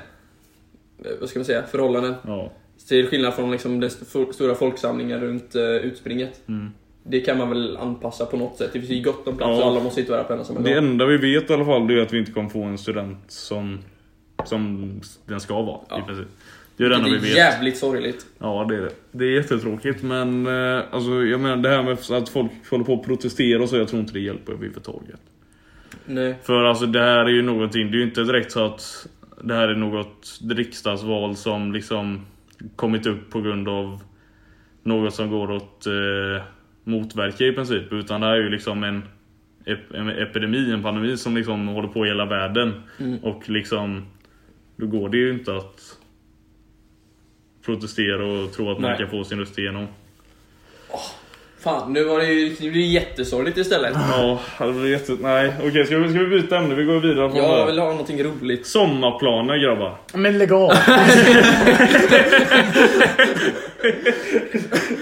Speaker 3: vad ska man säga, förhållanden.
Speaker 2: Ja.
Speaker 3: Till skillnad från liksom den st- for- stora folksamlingen runt eh, utspringet.
Speaker 2: Mm.
Speaker 3: Det kan man väl anpassa på något sätt. Det finns ju gott om plats
Speaker 2: Ja.
Speaker 3: och alla måste inte vara på en och samma
Speaker 2: Det
Speaker 3: gång.
Speaker 2: enda vi vet i alla fall det är att vi inte kommer få en student som, som den ska vara.
Speaker 3: Ja.
Speaker 2: I princip. Det är det enda vi
Speaker 3: Det är
Speaker 2: vet.
Speaker 3: jävligt sorgligt.
Speaker 2: Ja det är det. Det är jättetråkigt men eh, alltså, jag menar det här med att folk håller på att protestera och så, jag tror inte det hjälper överhuvudtaget.
Speaker 3: Nej.
Speaker 2: För alltså det här är ju någonting, det är ju inte direkt så att det här är något riksdagsval som liksom kommit upp på grund av något som går att eh, motverka i princip. Utan det här är ju liksom en, ep- en epidemi, en pandemi som liksom håller på i hela världen.
Speaker 3: Mm.
Speaker 2: Och liksom, då går det ju inte att protestera och tro att man
Speaker 3: Nej.
Speaker 2: kan få sin röst igenom.
Speaker 3: Fan, nu var det ju det blir jättesorgligt istället.
Speaker 2: Ja, det blir jätte... Nej, okej ska, vi, ska vi byta ämne? Vi går vidare från det
Speaker 3: Jag
Speaker 2: här.
Speaker 3: vill ha någonting roligt.
Speaker 2: Sommarplaner grabbar.
Speaker 4: Men lägg av!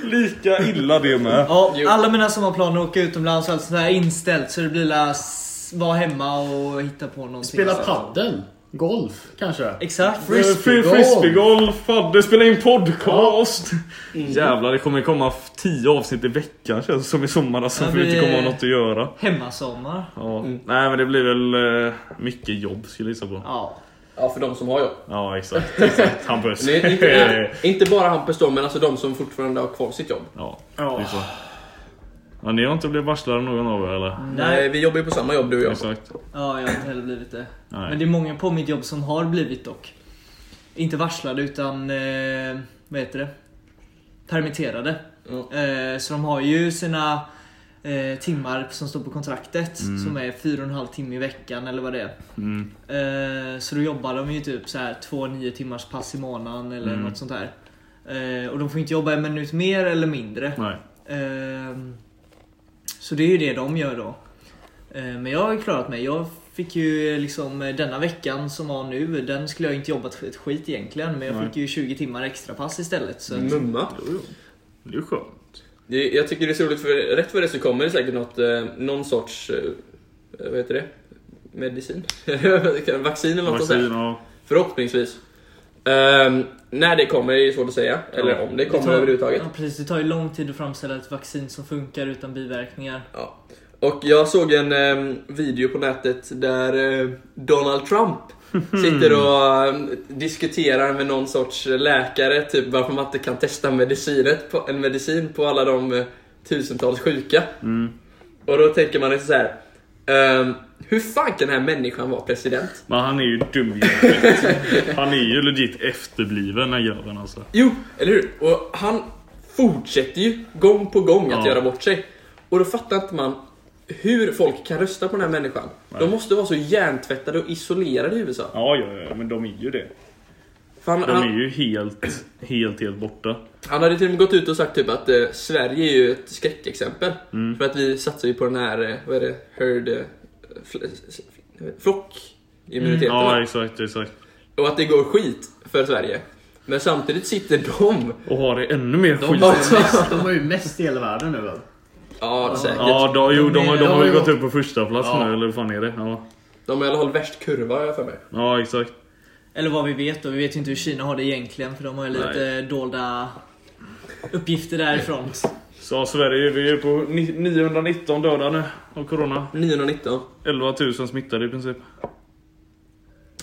Speaker 2: Lika illa det med.
Speaker 5: Ja,
Speaker 3: Jo.
Speaker 5: alla mina sommarplaner åka utomlands och allt sånt där är inställt så det blir la s- vara hemma och hitta på någonting.
Speaker 4: Spela
Speaker 5: Så-
Speaker 4: paddel Golf, kanske?
Speaker 5: Exakt.
Speaker 3: Mm.
Speaker 4: Frisbeegolf.
Speaker 2: Frisbeegolf, Frisbeegolf fadde, spela in podcast!
Speaker 5: Mm.
Speaker 2: Jävlar, det kommer komma f- tio avsnitt i veckan känns det som i sommar alltså,
Speaker 5: Ja,
Speaker 2: för vi inte
Speaker 5: det-
Speaker 2: kommer ha något att göra.
Speaker 5: Hemmasommar.
Speaker 2: Ja. Nej men det blir väl eh, mycket jobb skulle jag gissa på.
Speaker 5: Ja.
Speaker 3: Ja, för de som har jobb.
Speaker 2: Ja exakt, exakt. Hampus.
Speaker 3: Nej, inte, inte bara Hampus då, men alltså de som fortfarande har kvar sitt jobb.
Speaker 2: ja, det är så. Ja, ni har inte blivit varslade av någon av er eller?
Speaker 3: Nej,
Speaker 5: Nej.
Speaker 3: Eh, vi jobbar ju på samma jobb du och jag.
Speaker 2: Exakt.
Speaker 5: Ja, jag har inte heller blivit det.
Speaker 2: Nej.
Speaker 5: Men det är många på mitt jobb som har blivit dock. Inte varslade utan, eh, vad heter det? Permitterade.
Speaker 3: Ja.
Speaker 5: Eh, så de har ju sina eh, timmar som står på kontraktet som är fyra och en halv timme i veckan eller vad det är.
Speaker 2: Mm.
Speaker 5: Eh, så då jobbar de ju typ så här två nio timmars pass i månaden eller
Speaker 2: Mm.
Speaker 5: något sånt där. Eh, och de får inte jobba en minut mer eller mindre.
Speaker 2: Nej.
Speaker 5: Ehm, Så det är ju det de gör då. Ehm, Men jag har ju klarat mig. Jag fick ju liksom eh, denna veckan som var nu, den skulle jag inte jobbat för ett skit egentligen. Men jag
Speaker 2: Nej. Mm.
Speaker 5: fick ju 20 timmar extra pass istället. Så att,
Speaker 3: Mumma.
Speaker 2: Det är ju skönt.
Speaker 3: Det, jag tycker det är så roligt, för rätt vad det är så kommer det säkert något, eh, någon sorts, eh, vad heter det? Medicin? Vaccin eller något sånt där.
Speaker 2: Vaccin och...
Speaker 3: Förhoppningsvis. Ehm, när det kommer är svårt att säga, eller
Speaker 2: Ja.
Speaker 3: om det kommer
Speaker 5: tar-
Speaker 3: överhuvudtaget.
Speaker 5: Ja, precis, det tar ju lång tid att framställa ett vaccin som funkar utan biverkningar.
Speaker 3: Ja. Och jag såg en ehm, video på nätet där eh, Donald Trump sitter och ehm, diskuterar med någon sorts läkare typ varför man inte kan testa medicinet på, en medicin på alla de eh, tusentals sjuka.
Speaker 2: Mm.
Speaker 3: Och då tänker man lite så här. ehm, hur fan kan den här människan vara president?
Speaker 2: Men han är ju dum i huvudet. Han är ju legit efterbliven den här grabben alltså.
Speaker 3: Jo, eller hur? Och han fortsätter ju gång på gång att
Speaker 2: Ja.
Speaker 3: göra bort sig. Och då fattar inte man hur folk kan rösta på den här människan. De måste vara så hjärntvättade och isolerade i USA.
Speaker 2: Ja, ja, ja, men de är ju det.
Speaker 3: För han,
Speaker 2: De är
Speaker 3: han,
Speaker 2: ju helt, helt, helt borta.
Speaker 3: han hade till och med gått ut och sagt typ att eh, Sverige är ju ett skräckexempel.
Speaker 2: Mm.
Speaker 3: För att vi satsar ju på den här, eh, vad är det, herd... Eh, fl- fl- flockimmuniteten. va?
Speaker 2: Mm, Ja, exakt, exakt.
Speaker 3: Och att det går skit för Sverige. Men samtidigt sitter de...
Speaker 2: Och har det ännu mer skit.
Speaker 4: De har ju mest i hela världen nu väl?
Speaker 3: Ja, säkert.
Speaker 2: Ja, då, jo, de, har- de har
Speaker 4: De
Speaker 2: ju
Speaker 4: är-
Speaker 2: gått upp på första plats
Speaker 4: Ja.
Speaker 2: nu, eller vad fan är det? Ja,
Speaker 3: De har i alla fall värst kurva har jag för mig.
Speaker 2: ja exakt.
Speaker 5: Eller vad vi vet då. Vi vet ju inte hur Kina har det egentligen för de har ju lite
Speaker 2: Nej.
Speaker 5: dolda uppgifter därifrån.
Speaker 2: Så Sverige, vi är ju på ni- 919 döda nu av corona.
Speaker 3: 919.
Speaker 2: 11 000 smittade i princip.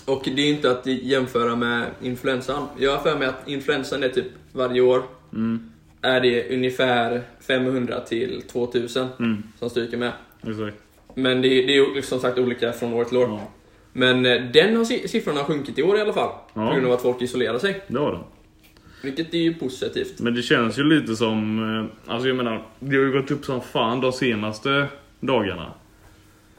Speaker 3: Och det är inte att jämföra med influensan. Jag har för mig att influensan är typ varje år
Speaker 2: Mm.
Speaker 3: är det ungefär 500 till 2000
Speaker 2: Mm.
Speaker 3: som stryker med.
Speaker 2: Exakt.
Speaker 3: Men det, det är ju som sagt olika från år till år.
Speaker 2: Ja.
Speaker 3: Men eh, den har si- siffrorna har sjunkit i år i alla fall.
Speaker 2: Ja.
Speaker 3: På grund av att folk isolerar sig.
Speaker 2: Det var de.
Speaker 3: Vilket är ju positivt.
Speaker 2: Men det känns ju lite som... eh, Alltså jag menar, det har ju gått upp som fan de senaste dagarna.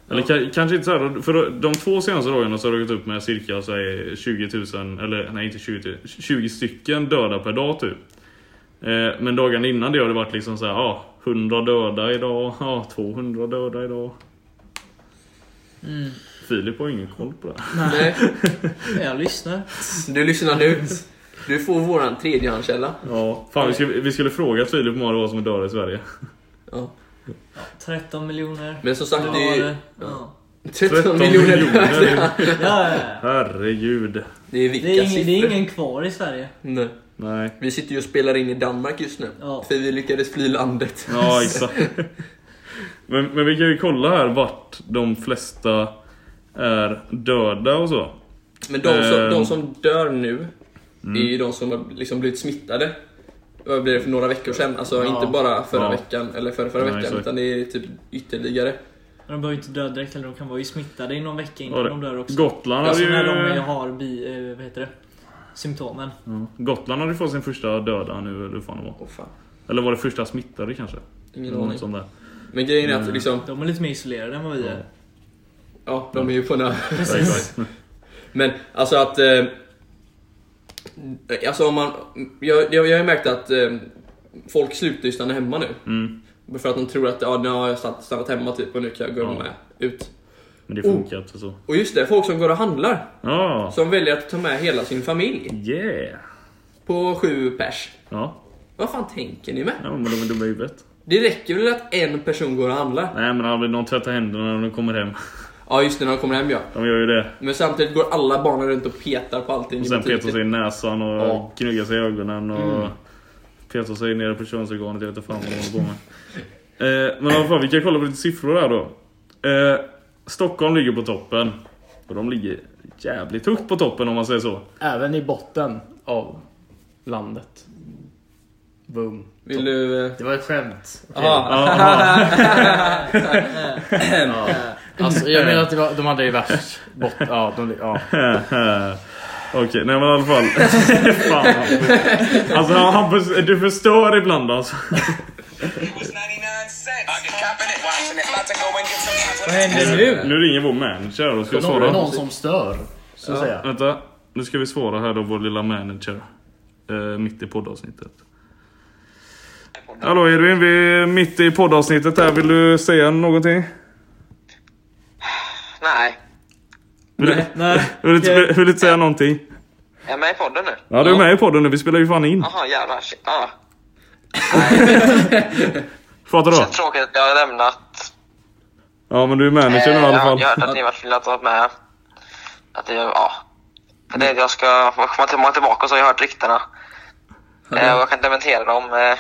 Speaker 2: Eller ka- kanske inte så här, för de två senaste dagarna så har det gått upp med cirka så här, 20 000, eller nej inte 20 000, 20 stycken döda per dag typ. Eh, Men dagarna innan det har det varit liksom så här, ja, 100 döda idag, ja, 200 döda idag. Filip har ingen koll på det. här.
Speaker 3: Nej,
Speaker 5: Jag lyssnar.
Speaker 3: du lyssnar nu. Du får våran tredjehandskälla.
Speaker 2: Ja, fan, vi, skulle, vi skulle fråga Filip hur många det var som är döda i Sverige.
Speaker 3: Ja.
Speaker 5: 13 miljoner.
Speaker 3: Men som sagt,
Speaker 5: Ja,
Speaker 3: det är ju
Speaker 5: det- ja.
Speaker 3: 13 miljoner döda.
Speaker 5: Ja, ja, ja.
Speaker 2: Herregud.
Speaker 3: Det är
Speaker 5: Det
Speaker 3: vilka
Speaker 5: är, ingen, det är
Speaker 3: siffror.
Speaker 5: ingen kvar i Sverige.
Speaker 3: Nej.
Speaker 2: Nej.
Speaker 3: Vi sitter ju och spelar in i Danmark just nu.
Speaker 5: Ja.
Speaker 3: För vi lyckades fly landet.
Speaker 2: Ja, exakt. Men, men vi kan ju kolla här vart de flesta är döda och så.
Speaker 3: Men de som,
Speaker 2: Ehm. Mm.
Speaker 3: de som dör nu är ju de som har liksom blivit smittade. Vad blir det för några veckor sedan? Alltså
Speaker 4: Ja.
Speaker 3: inte bara förra
Speaker 2: Ja.
Speaker 3: veckan eller förra, förra
Speaker 2: Nej,
Speaker 3: veckan
Speaker 2: exakt.
Speaker 3: utan det är typ ytterligare.
Speaker 5: Men de behöver ju inte dö direkt heller. De kan vara ju smittade i någon vecka
Speaker 2: Var
Speaker 5: innan
Speaker 2: det?
Speaker 5: de dör också.
Speaker 2: Gotland hade
Speaker 5: Alltså
Speaker 2: ju, Mm.
Speaker 5: när de har bi, eh, vad heter det? Symptomen.
Speaker 2: Ja, Gotland hade ju fått sin första döda nu, eller hur fan det var.
Speaker 3: Åh fan,
Speaker 2: Eller var det första smittade kanske?
Speaker 3: ingen
Speaker 2: Eller något
Speaker 3: aning.
Speaker 2: sånt där.
Speaker 3: Men grejen
Speaker 2: Mm.
Speaker 3: är att liksom,
Speaker 5: De är lite mer isolerade än vad vi är.
Speaker 3: ja
Speaker 2: Mm.
Speaker 3: de är ju på nö.
Speaker 2: Ja, exakt.
Speaker 3: Men alltså att... Eh, alltså om man... Jag, jag, jag har ju märkt att eh, folk slutar ju stanna hemma nu.
Speaker 2: Mm.
Speaker 3: För att de tror att ja, nu har jag stannat- stannat hemma typ och nu kan jag gå
Speaker 2: Ja.
Speaker 3: med ut.
Speaker 2: Men det
Speaker 5: Oh.
Speaker 2: funkar inte så.
Speaker 3: Och just det, folk som går och handlar.
Speaker 2: Ja,
Speaker 3: Som väljer att ta med hela sin familj
Speaker 2: yeah.
Speaker 3: på sju pers.
Speaker 2: Ja,
Speaker 3: Vad fan tänker ni med?
Speaker 2: ja men de är dumma i huvudet.
Speaker 3: Det räcker väl att en person går och handlar?
Speaker 2: Nej men aldrig, de tvättar händerna när de kommer hem.
Speaker 3: Ja just det, när de kommer hem ja.
Speaker 2: De gör ju det.
Speaker 3: Men samtidigt går alla barnen runt och petar på allting.
Speaker 2: Och
Speaker 3: i
Speaker 2: sen
Speaker 3: butiken.
Speaker 2: petar sig i näsan och
Speaker 3: Ja. Mm.
Speaker 2: gnuggar sig i ögonen och petar sig nere på könsorganet. Jag vet inte fan vad de håller på med. Eh, men i alla fall, vi kan kolla på lite siffror här då. Eh, Stockholm ligger på toppen. Och de ligger jävligt högt på toppen om man säger så.
Speaker 4: Även i botten av landet. Boom.
Speaker 3: Vill du... eh,
Speaker 4: Det var ett skämt.
Speaker 3: Aha,
Speaker 4: Alltså, jag menar att det var, de hade ju värst bott... Ja, de, ja.
Speaker 2: Eh, Okej, nej men i alla fall. fan, Hampus. alltså Hampus, du förstör ibland alltså.
Speaker 6: was 99 cents. I can cop it, watching it. About to go and get some shots with
Speaker 5: Vad händer nu?
Speaker 2: Nu ringer vår manager och ska
Speaker 4: Någon,
Speaker 2: svara.
Speaker 4: någon som stör, så att säga.
Speaker 2: Vänta, nu ska vi svara här då vår lilla manager. Eh, mitt i poddavsnittet. Hallå Edvin, vi är mitt i poddavsnittet här. Vill du säga någonting?
Speaker 7: Nej,
Speaker 2: Vill, du-
Speaker 5: Nej.
Speaker 2: vill, du, inte-
Speaker 5: okej.
Speaker 2: vill, du inte säga någonting?
Speaker 7: är jag med i podden nu?
Speaker 2: Ja, du är med i podden nu. Vi spelar ju fan in.
Speaker 7: Jaha, jävlar. shit. Ah, Ja.
Speaker 2: Fattar du?
Speaker 7: Så tråkigt att jag har lämnat.
Speaker 2: Ja, men du är manager nu i alla
Speaker 7: jag,
Speaker 2: fall.
Speaker 7: jag hörde att ni var att varit med här. Att det, ja. För det, jag ska komma till- komma tillbaka och så har jag hört ryktena. Eh, och jag kan dementera dem. eh,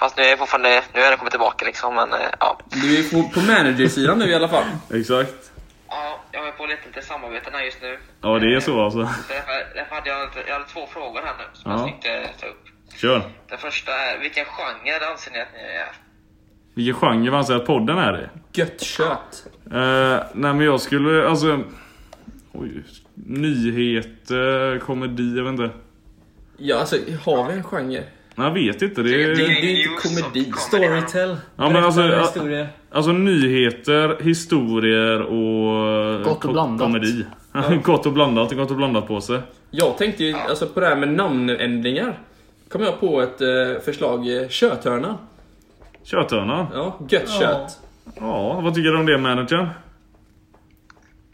Speaker 7: Fast nu är jag fortfarande, nu har jag kommit tillbaka liksom. Men eh, ja.
Speaker 3: du är på, på managersidan nu i alla fall.
Speaker 2: Exakt.
Speaker 7: Ja, jag är på lite till samarbeten här just nu.
Speaker 2: Ja, det är så alltså.
Speaker 7: Därför, därför hade jag, jag hade två frågor här nu som
Speaker 2: Ja.
Speaker 7: jag tänkte ta upp.
Speaker 2: Kör.
Speaker 7: Den första är, vilken genre anser ni att ni är?
Speaker 2: Vilken genre anser att podden är i?
Speaker 3: Gött kött.
Speaker 2: Eh, nej men jag skulle, alltså... Oj, nyheter, komedi, jag vet inte.
Speaker 3: Ja alltså, har vi en genre?
Speaker 2: Nej, jag vet inte. Det
Speaker 7: Det
Speaker 2: är...
Speaker 7: är
Speaker 3: inte
Speaker 7: news och
Speaker 3: komedi.
Speaker 5: Storytel.
Speaker 2: men
Speaker 5: Berätta
Speaker 2: alltså,
Speaker 5: en
Speaker 2: ja.
Speaker 5: historia.
Speaker 2: Alltså nyheter, historier och...
Speaker 4: Gott och
Speaker 2: ko-
Speaker 4: blandat.
Speaker 2: Komedi. gott och blandat, gott och blandat på sig.
Speaker 3: Jag tänkte ju alltså, på det här med namnändringar. Kom jag på ett eh, förslag, eh, kötthörnan.
Speaker 2: Kötthörnan.
Speaker 3: Ja, gött kött.
Speaker 2: Ja, vad tycker du om det managern?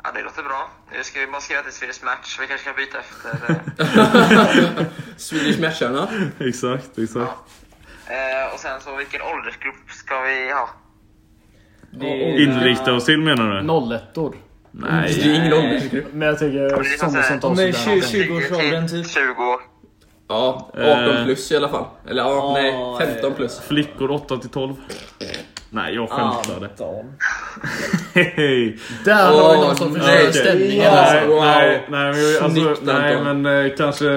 Speaker 7: Ja, det låter bra. Nu ska vi bara skriva till Swedish Match. Vi kanske kan byta efter. eh,
Speaker 3: Swedish match
Speaker 2: Exakt, exakt.
Speaker 7: Eh, och sen så vilken åldersgrupp ska vi ha?
Speaker 3: Det är,
Speaker 2: Inrikta oss till menar du?
Speaker 4: Nollettor.
Speaker 2: Nej.
Speaker 3: det är ingen åldersgrupp.
Speaker 4: Men jag tänker
Speaker 7: liksom
Speaker 4: sådana som
Speaker 7: såhär,
Speaker 4: tar
Speaker 5: om det är
Speaker 4: studenten.
Speaker 5: 20 20-årsåldern typ.
Speaker 7: 20 år.
Speaker 3: Ja, 18
Speaker 2: Eh.
Speaker 3: plus i alla fall. Eller ja,
Speaker 5: Ah,
Speaker 4: eh.
Speaker 3: nej, 15 plus.
Speaker 2: Flickor 8 till 12. Nej, jag
Speaker 4: Ah.
Speaker 2: skämtade.
Speaker 5: Anton.
Speaker 2: Hej.
Speaker 4: Där har vi någon
Speaker 3: Åh,
Speaker 4: som
Speaker 3: nej.
Speaker 4: förstör stämningen.
Speaker 3: Ja.
Speaker 4: alltså.
Speaker 2: Nej,
Speaker 3: Wow.
Speaker 2: nej, nej, men, jag-
Speaker 3: Snyggt,
Speaker 2: alltså,
Speaker 3: Anton.
Speaker 2: nej men eh, kanske...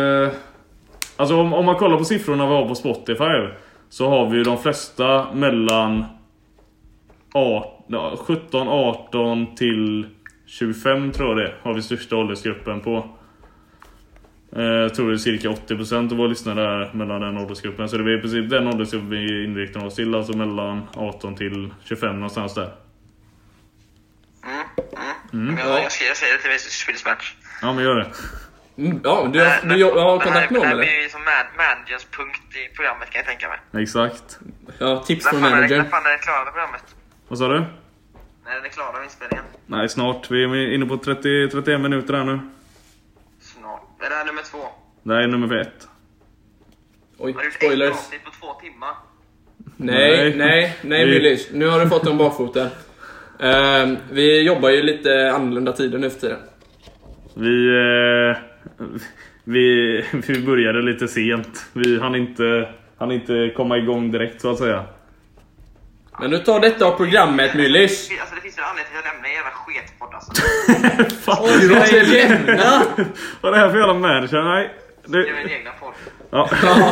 Speaker 2: Alltså om, om man kollar på siffrorna vi har på Spotify så har vi ju de flesta mellan art- ja, 17, 18 till 25 tror jag det är, har vi största åldersgruppen på. Eh, Jag tror det är cirka 80% av våra lyssnare är mellan den åldersgruppen. Så det är i princip den åldersgruppen vi inriktar oss till, alltså mellan 18 till 25 någonstans där.
Speaker 7: Jag, jag, säger, jag säger det till Spillsmatch.
Speaker 2: Ja men gör det.
Speaker 3: Mm, Ja, du har, du har- har kontakt med dem
Speaker 7: Det här
Speaker 3: eller?
Speaker 7: blir ju som man- managerns punkt i programmet kan jag tänka mig.
Speaker 2: Exakt.
Speaker 3: Ja, tips
Speaker 7: När
Speaker 3: från
Speaker 7: fan är det- när
Speaker 3: managern.
Speaker 7: fan är det klara med programmet?
Speaker 2: Vad sa du?
Speaker 7: När är det klara med inspelningen?
Speaker 2: Nej, snart. Vi är inne på 30, 31 minuter här nu.
Speaker 7: Snart. Är det här nummer två?
Speaker 2: Det här är nummer ett.
Speaker 3: Oj,
Speaker 7: Har du gjort ett
Speaker 3: spoilers.
Speaker 7: avsnitt på två timmar?
Speaker 2: Nej.
Speaker 3: Nej, nej, nej
Speaker 2: Vi-
Speaker 3: Willys. Nu har du fått dem bakfoten. Ehm, vi jobbar ju lite annorlunda tider nu för tiden.
Speaker 2: Vi, eh, vi, vi började lite sent. Vi hann inte, hann inte komma igång direkt så att säga.
Speaker 3: Men nu tar detta av programmet Myllys.
Speaker 7: Alltså det finns ju en anledning till att jag lämnar en jävla sketpodd alltså.
Speaker 2: Fan,
Speaker 3: Du måste lämna!
Speaker 2: vad är det här för jävla manager? Nej.
Speaker 7: Det är
Speaker 2: Det,
Speaker 7: min egna podd.
Speaker 2: ja,
Speaker 3: Ja, ja,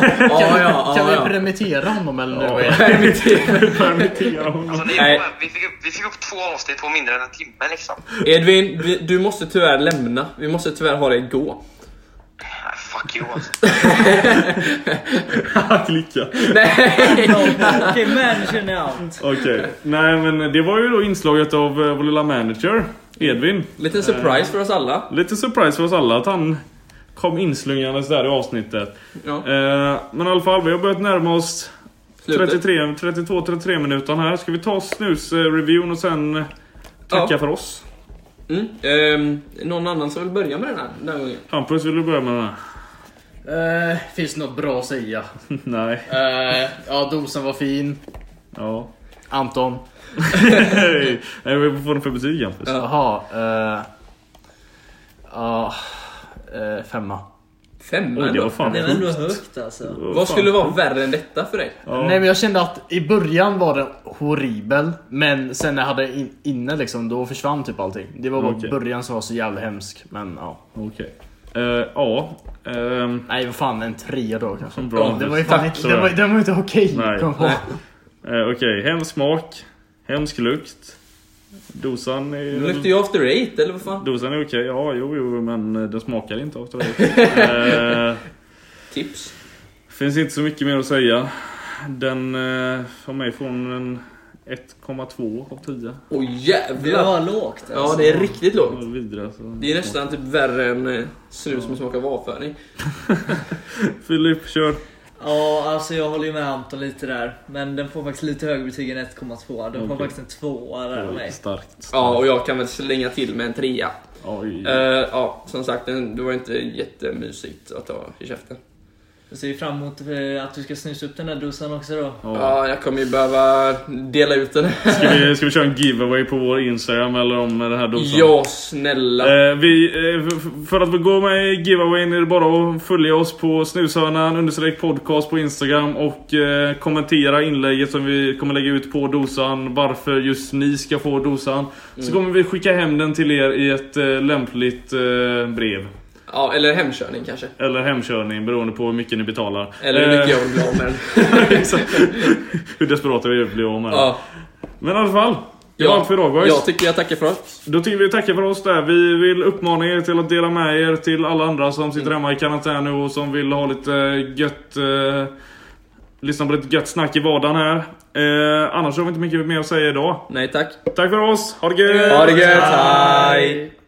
Speaker 4: Kan vi
Speaker 3: ja, ja.
Speaker 4: permittera honom eller? nu?
Speaker 3: Permittera.
Speaker 2: permittera honom.
Speaker 7: Alltså, det
Speaker 3: Nej.
Speaker 7: är bara, vi, fick upp, vi fick upp två avsnitt på mindre än en timme liksom.
Speaker 3: Edvin, vi- du måste tyvärr lämna. Vi måste tyvärr ha dig gå.
Speaker 7: Ah, fuck you alltså.
Speaker 2: Klicka.
Speaker 3: Nej!
Speaker 5: Okej, managern är out.
Speaker 2: Okej. Nej men det var ju då inslaget av eh, vår lilla manager, Edvin.
Speaker 3: Liten surprise för oss alla.
Speaker 2: Lite surprise för oss alla att han kom inslungandes där i avsnittet.
Speaker 3: Ja.
Speaker 2: Eh, Men i alla fall, vi har börjat närma oss
Speaker 3: Slutet.
Speaker 2: 33, 32, 33 minuter här. Ska vi ta snus-reviewn och sen eh, tacka
Speaker 3: Ja.
Speaker 2: för oss?
Speaker 3: Mm. ehm, någon annan som vill börja med den här, den här gången?
Speaker 2: Hampus, vill du börja med den här?
Speaker 4: Eh, finns det något bra att säga?
Speaker 2: Nej.
Speaker 4: Eh, ja, dosan var fin.
Speaker 2: Ja.
Speaker 4: Anton.
Speaker 2: Hej! Nej, men Vad får den för betyg Hampus?
Speaker 3: Ja.
Speaker 4: Jaha. eh, Ja. eh, femma.
Speaker 3: Femma
Speaker 2: Oj, det var
Speaker 3: ändå.
Speaker 2: fan
Speaker 5: Det är ändå
Speaker 2: sjukt.
Speaker 5: högt alltså.
Speaker 3: Vad skulle vara värre än detta för dig?
Speaker 2: Ja.
Speaker 4: Nej men jag kände att i början var den horribel Men sen när jag hade in, inne liksom Då försvann typ allting Det var bara
Speaker 2: Okej.
Speaker 4: början som var så jävla hemsk Men ja
Speaker 2: Okej. Eh, Ja. ehm,
Speaker 4: Nej vad fan en trea då kanske
Speaker 2: Bra
Speaker 4: Det
Speaker 2: Hampus.
Speaker 4: var ju fan inte,
Speaker 2: Mm. så
Speaker 4: den var,
Speaker 2: är
Speaker 4: den var inte okej
Speaker 2: Nej.
Speaker 4: kom på.
Speaker 2: Eh, Okej, hemsk smak. Hemsk lukt. Dosan är...
Speaker 3: Nu luktar jag after eight, eller vad fan?
Speaker 2: Dosan är okej, ja jo jo men eh, den smakar inte av det. eh,
Speaker 3: Tips.
Speaker 2: Finns inte så mycket mer att säga. Den, eh, för mig får hon en 1,2 av 10.
Speaker 3: Åh
Speaker 5: Det var
Speaker 3: jävlar!
Speaker 5: lågt
Speaker 3: Ja,
Speaker 5: alltså.
Speaker 3: det är riktigt
Speaker 2: Det
Speaker 3: lågt.
Speaker 2: var Vidare, så.
Speaker 3: Det är nästan typ värre än eh, snus som smakar av avföring.
Speaker 2: Filip, kör.
Speaker 5: Ja, alltså jag håller ju med Anton lite där. Men den får faktiskt lite högre betyg än 1,2. Den får
Speaker 2: Okej.
Speaker 5: faktiskt en tvåa där av
Speaker 2: Oj,
Speaker 5: mig.
Speaker 2: starkt.
Speaker 3: Ja, och jag kan väl slänga till med en trea.
Speaker 2: Oj.
Speaker 3: Eh, ja, som sagt, den- det var inte jättemysigt att ta i käften.
Speaker 5: Jag ser ju fram emot eh, att du ska snusa upp den där dosan också då.
Speaker 2: Ja.
Speaker 3: Ja, jag kommer ju behöva dela ut den här.
Speaker 2: Ska, vi, ska vi köra en giveaway på vår Instagram eller om den här dosan?
Speaker 3: Ja, snälla.
Speaker 2: Eh, vi, eh, f- f- för att få gå med i giveawayen är det bara att följa oss på snushörnan understreck podcast på Instagram och eh, kommentera inlägget som vi kommer lägga ut på dosan. Varför just ni ska få dosan.
Speaker 3: Mm.
Speaker 2: Så kommer vi skicka hem den till er i ett eh, lämpligt eh, brev.
Speaker 3: Ja, eller hemkörning kanske.
Speaker 2: Eller hemkörning beroende på hur mycket ni betalar.
Speaker 3: Eller hur mycket jag vill bli av med den.
Speaker 2: jag Exakt. Hur desperata vi blir av med det.
Speaker 3: Ja,
Speaker 2: Men i alla fall. Det var
Speaker 3: ja.
Speaker 2: allt för idag boys.
Speaker 3: Jag tycker jag tackar för oss.
Speaker 2: Då tycker vi tacka för oss där. Vi vill uppmana er till att dela med er till alla andra som sitter hemma i karantän nu och som vill ha lite gött... Eh, lyssna på lite gött snack i vardagen här. Eh, annars har vi inte mycket mer att säga idag.
Speaker 3: Nej tack.
Speaker 2: Tack för oss, ha det gött!
Speaker 3: Ha det gött, hej!